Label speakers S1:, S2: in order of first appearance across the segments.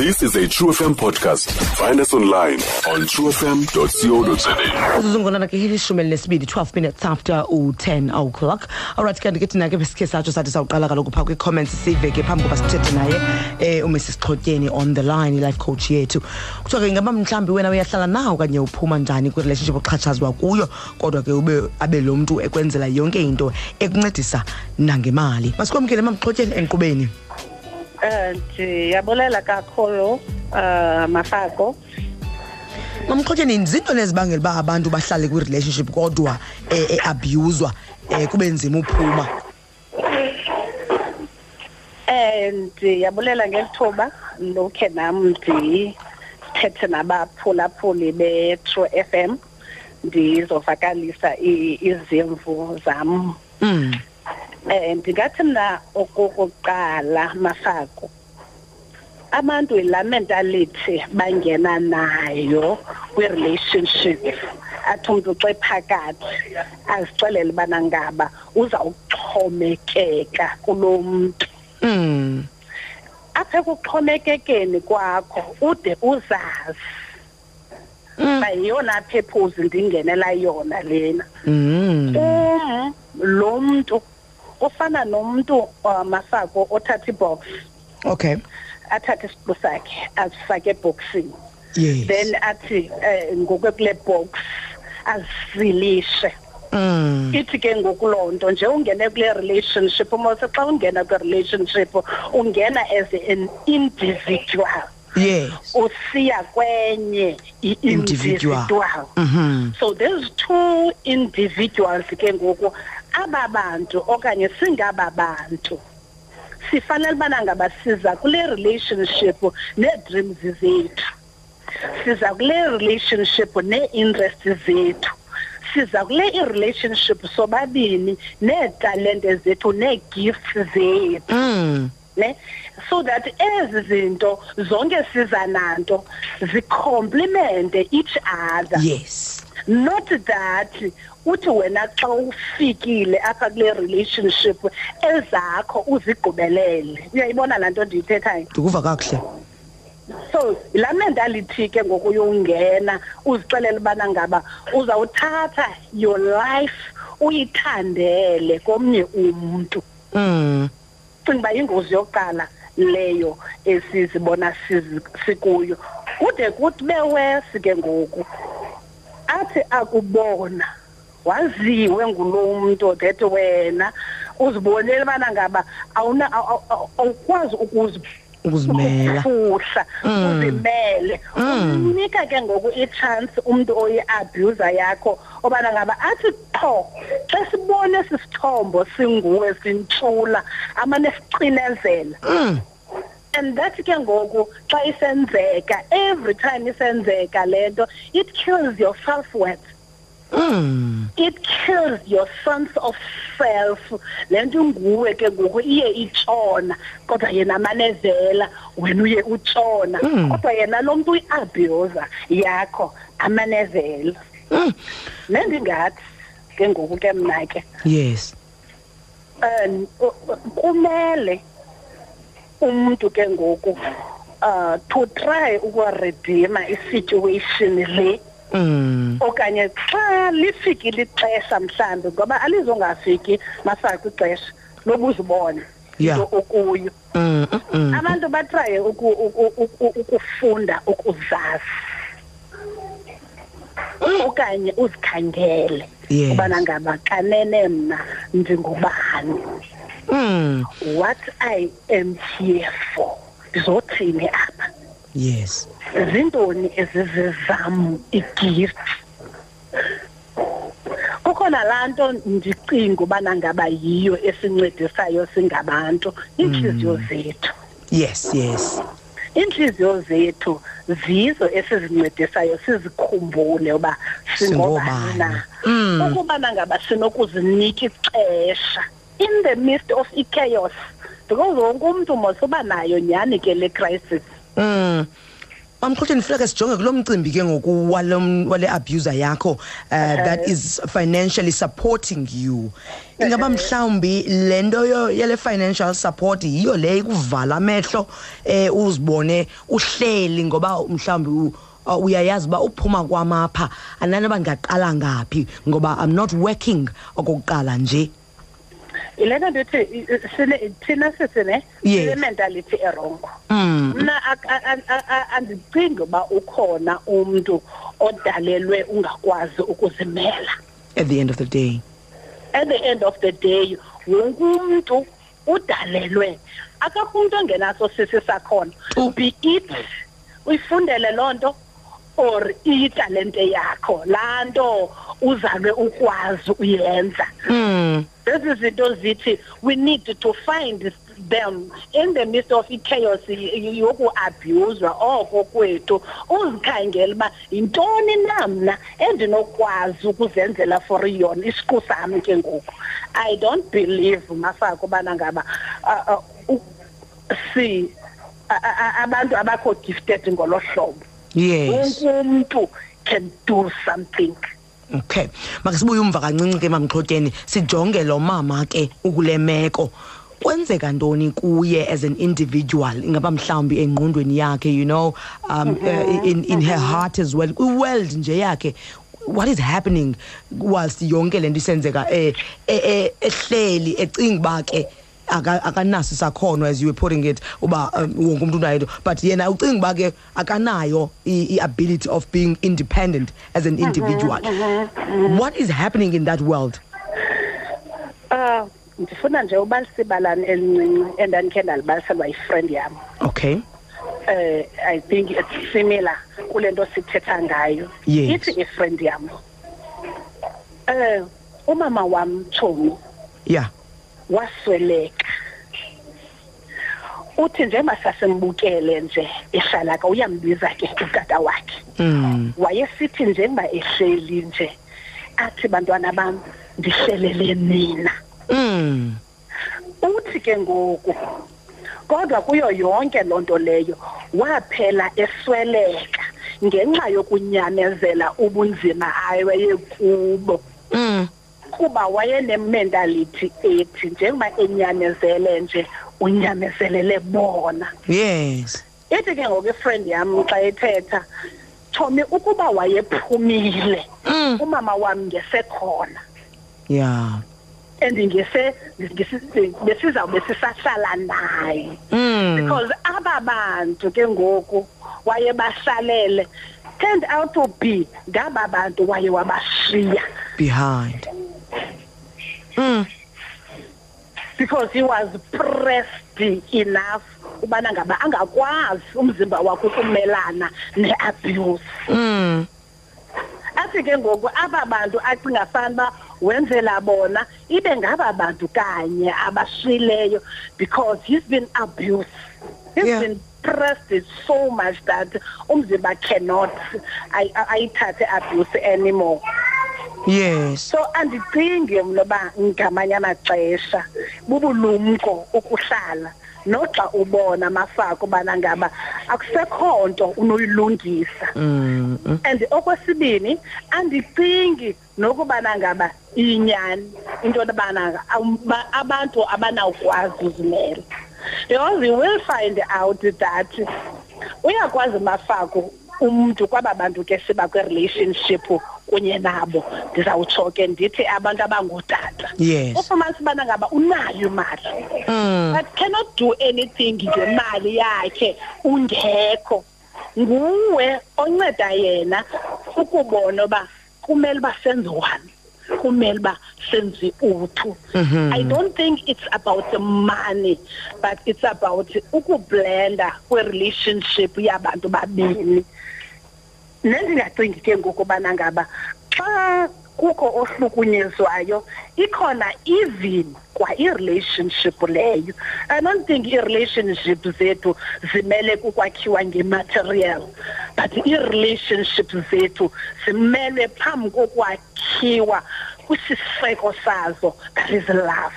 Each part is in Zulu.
S1: This is a True FM podcast. Find us online on truefm.co.za.
S2: sizungona ke ilishumi elinesibili 12 minutes after u-10 o'clock allright kanti ke thina ke besikhe satsho sathi sawuqala kaloku phaa kwi-comments sive ke phambi koba sithethe naye um umis sixhotyeni on the line i-life coach yethu kuthiwa ke ingaba mhlawumbi wena uyahlala na okanye uphuma njani kwirelationship oxhatshazwa kuyo kodwa ke ube abe lo mntu ekwenzela yonke into ekuncedisa nangemali masikwamkele mamxhotyeni enkqubeni
S3: Eh, ndiyabulela kakhulu um mafako
S2: mamxhotyeni ziinto nezibangela uba abantu bahlale kwirelationship kodwa eh, eabhuzwa um kube nzima uphuma
S3: um ndiyabulela ngeli thuba lokhe nam ndithethe nabaphulaphuli be-true f m ndizovakalisa i- izimvo zam
S2: mm.
S3: um ndingathi mna okokuqala mafako abantu yilaa mentality bangena nayo kwi-relationship athi umntu xa phakathi azixelele ubana ngaba uzawuxhomekeka kulo mntu
S2: Mm.
S3: apha ekuxhomekekeni kwakho ude uzazi
S2: Mm.
S3: uba yiyona phephuzi ndingenela yona lena
S2: Mm.
S3: um lo mntu ufana nomntu uh, masako othatha ibhox
S2: Okay.
S3: athathe isipulu sakhe asifake ebhoksini
S2: Yes.
S3: then athi um ngokwekule box azizilishe
S2: mm.
S3: ithi ke ngoku loo nto nje ungene kule relationship umose xa ungena kwi-relationship ungena as an individual
S2: Yes.
S3: usiya kwenye
S2: Individual.
S3: i-individual
S2: Mhm.
S3: so there's two individuals ke ngoku aba bantu okanye singaba bantu sifanele ubana ngaba siza kule relationship nee-dreams zethu siza kule relationship nee-interest zethu siza kule i-relationship sobabini neetalente zethu nee-gifts zethu
S2: Mm.
S3: ne so that ezi zinto zonke siza nanto zicomplemente each other
S2: Yes.
S3: not that uthi wena xa ufikile apha kule relationship ezakho uzigqibelele uyayibona laa nto ndiyithethayo
S2: Ndikuva kakuhle.
S3: so laa mentality ke ngoku yongena uzixelele ubana ngaba uzawuthatha your life uyithandele komnye umntu
S2: Mm.
S3: cinga uba yingozi yokuqala leyo esizibona sizi- sikuyo kude kuthi bewesi ke ngoku athi akubona waziwe ngulo mntu that wena uzibonele ubana ngaba awuna- aw- aw- awukwazi ukuzi
S2: Ukuzimela.
S3: ukufuhla
S2: Mm.
S3: uzimele
S2: Mm.
S3: umnika ke ngoku itshansi umntu oyi-abhuza yakho obana ngaba athi qho xa sibone sisithombo singuwe sintshula amane sicinezela
S2: Mm.
S3: and that ke ngoku xa isenzeka every time isenzeka le nto it kills your self worth
S2: Mm.
S3: it kills your sense of self le nto nguwe ke ngoku iye itshona kodwa yena amanevela wena uye utshona
S2: Mm.
S3: kodwa yena lo mntu uyiabhuza yakho amanevela
S2: Mm.
S3: nendingathi ke ngoku ke mna ke
S2: Yes.
S3: um u- u- kumele umuntu ke ngoku uh to try ukuredima i-situation le
S2: Mm.
S3: okanye xa lifikile ixesha mhlawumbi ngoba alizongafiki masaki ixesha lobuzibona
S2: Yeah.
S3: into okuyo
S2: Mm. Mm.
S3: abantu batraye uku- uku- uku- ukufunda ukuzazi okanye uzikhangele
S2: Yes.
S3: ubana ngaba kanene mna ndingubani
S2: Mm.
S3: what i am here for ndizothini apha
S2: Yes.
S3: zintoni ezizezam igifts kukho nalaa nto ndicinga ubana ngaba yiyo esincedisayo singabantu iintliziyo zethu
S2: Yes, yes.
S3: iintliziyo zethu zizo esizincedisayo sizikhumbule uba singobani na
S2: Mm.
S3: ukubana ngaba sinokuzinika ixesha in the midst of ichaos because wonke umntu mos uba nayo nyhani ke le crisis
S2: Mm. mamqhutsheni funeka sijonge kulo mcimbi ke ngoku walo- wale abuser yakho uh, that is financially supporting you ingaba mhlawumbi le nto yo- yale financial support yiyo le ikuvala amehlo um uzibone uhleli ngoba mhlawumbi u- uh, uyayazi uba uphuma kwamapha andanoba ndingaqala ngaphi ngoba i'm not working okokuqala nje
S3: yile nto ndithi i- i- sine- thina sisine
S2: Yes.
S3: sinementality erongo
S2: Mm.
S3: mna ak- a- a- a- a- andicingi uba ukhona umntu odalelwe ungakwazi ukuzimela
S2: at the end of the day
S3: at the end of the day wonke umntu udalelwe akakho umntu ongenaso sisi sakhona
S2: Tu.
S3: be it uyifundele loo nto or iyitalente yakho laa nto uzalwe ukwazi uyenza
S2: mm.
S3: lezi zinto zithi we need to find them in the midst of ichaos yokuabhuzwa oko kwethu uzikhangela uba yintoni na mna endinokwazi ukuzenzela for yona isiqu sami ke ngoku i don't believe mafako ubana ngaba uh, uh, u- si a- a- a- abantu abakho gifted ngolo hlobo
S2: yes
S3: wonke umntu can do something
S2: Okay. Makasibuye umva kancinci ke mamxhotyeni sijonge lo mama ke ukule meko. Kwenzeka ntoni kuye as an individual ingaba mhlawumbi engqondweni yakhe you know um uh, in in her heart as well kwi world nje yakhe what is happening whilst yonke lento isenzeka eh eh- eh, ehleli ecinga ba ke aka- akanaso sakhono as you were putting it uba um, wonke umuntu unayo into. but yena ucinga uba ke akanayo i- i-ability of being independent as an individual what is happening in that world
S3: Ah, ndifuna nje ubalisa ibalani elincinci endandikhe ndalibaliselwa yifriend yam
S2: okay
S3: eh i think it's similar kule nto sithetha ngayo
S2: Yes.
S3: ithi ifriend yam eh umama wam Thomi
S2: yeah
S3: wasweleka uthi njengoba sasimbukele nje ehlalaka uyambiza ke utata wakhe
S2: mm.
S3: wayesithi njengoba ehleli nje athi bantwana bam ndihlelele nina
S2: Mm.
S3: uthi ke ngoku kodwa kuyo yonke loo nto leyo waphela esweleka ngenxa yokunyamezela ubunzima aweye kubo
S2: Mm.
S3: kuba wayenementality ethi njengoba enyamezele nje unyamezelele bona
S2: yes
S3: ithi ke ngoku ifriend yam xa ethetha thomi ukuba wayephumile
S2: mm.
S3: umama wam ngesekhona
S2: yeah
S3: andingese besizawube sisahlala naye
S2: mm.
S3: because aba bantu ke ngoku waye bahlalele turned out to be ngaba bantu waye wabashiya
S2: behind mm.
S3: because he was pressed enough ubana ngaba angakwazi umzimba wakhe ukumelana ne-abuse
S2: Mm.
S3: athi ke ngoku aba bantu acinga fanuba wenzela bona ibe ngaba bantu kanye abashileyo because he's been abused he's
S2: Yeah.
S3: been pressed so much that umzimba cannot ay- ay- ayithathe abuse anymore
S2: yes
S3: so andicingi mna uba ngamanye amaxesha bubulumko ukuhlala noxa ubona amafako ubana ngaba akusekho nto unoyilungisa
S2: mm. Mm.
S3: and okwesibini andicingi nokubana ngaba iyinyani into yobana aba- abantu abanawukwazi uzimela because you will find out that uyakwazi mafako umntu kwaba bantu ke siba kwi-relationship kunye nabo ndizawutsho ke ndithi abantu abangootata
S2: yes
S3: ufumanisa ubana ngaba unayo imali
S2: mm.
S3: but cannot do anything ngemali yakhe ungekho nguwe onceda yena ukubona uba kumele uba senziwani kumele uba senzi uthu
S2: Mhm.
S3: i don't think it's about the money but it's about ukublenda kwe-relationship yabantu babini nendingacingi ke ngokubana ngaba xa kukho ohlukunyezwayo ikhona even kwa i-relationship leyo i don't think i-relationship zethu zimele kukwakhiwa nge-material but i-relationship zethu zimele phambi kokwakhiwa kwisiseko sazo that is love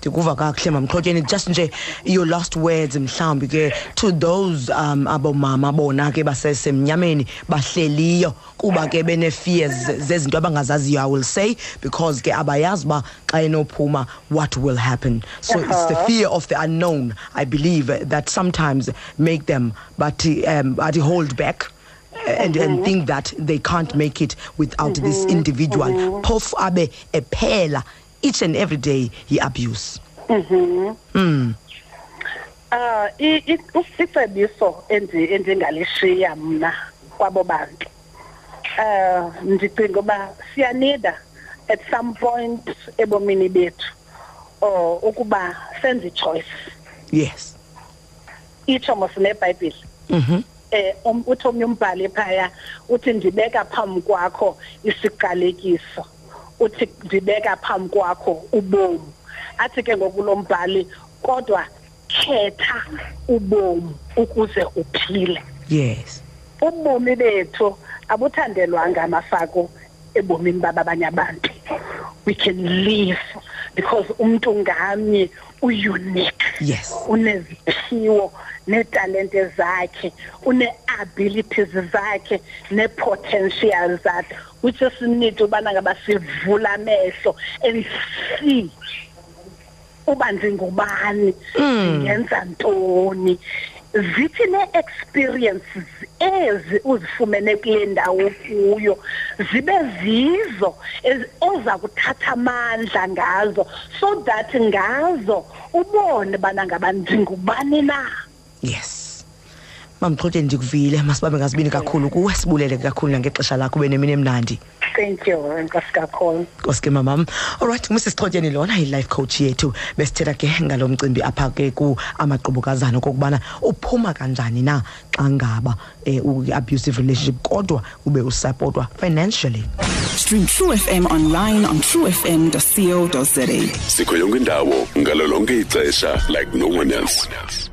S2: ndikuva kakuhle mamqhotyeni just nje your last words mhlawumbi ke to those um abomama bona ke basesemnyameni bahleliyo kuba ke bene-fears zezinto abangazaziyo i will say because ke abayazi uba xa enophuma what will happen so it's the fear of the unknown i believe uh, that sometimes make them but um, but hold back and, and think that they can't make it without this individual phofu abe ephela each and every day yi-abuse
S3: Ah, i- i- isicebiso endi- endingalishiya mna kwabo bantu eh ndicinga uba siyanida at some point ebomini bethu or ukuba senze choice
S2: yes
S3: itsho mos nebhayibhile
S2: Mhm.
S3: eh um- uthi omnye umbhali phaya uthi ndibeka phambi kwakho isiqalekiso uthi ndibeka phambi kwakho ubomu athi ke ngoku lo mbhali kodwa khetha ubomu ukuze uphile
S2: yes
S3: ubomi bethu abuthandelwanga amafako ebomini bababanye abantu we can live because umntu ngamnye unique
S2: Yes.
S3: uneziphiwo neetalente zakhe une-abilities zakhe nee-potential zakhe which is need ubana ngaba sivula amehlo and see uba ndingubani ndingenza ntoni zithi nee-experiences ezi uzifumene kule ndawo kuyo zibe zizo ez- oza kuthatha amandla ngazo so that ngazo ubone ubana ngaba ndingubani na
S2: yes mamqhotyeni ndikuvile masibambe ngazibini kakhulu kuwe sibulele kakhulu nangexesha lakho ube nemini emnandi
S3: thank you enkosi kakhulu
S2: nkosi ke mamam olrayithi ngumsisixhotyeni lona yi-life coach yethu besithetha ke ngalo mcimbi apha ke kuamaqubukazana okokubana uphuma kanjani na xa ngaba um i-abusive relationship kodwa ube usapotwa financially
S4: Stream True FM online on truefm.co.za.
S1: sikho yonke indawo ngalo lonke ixesha like no one else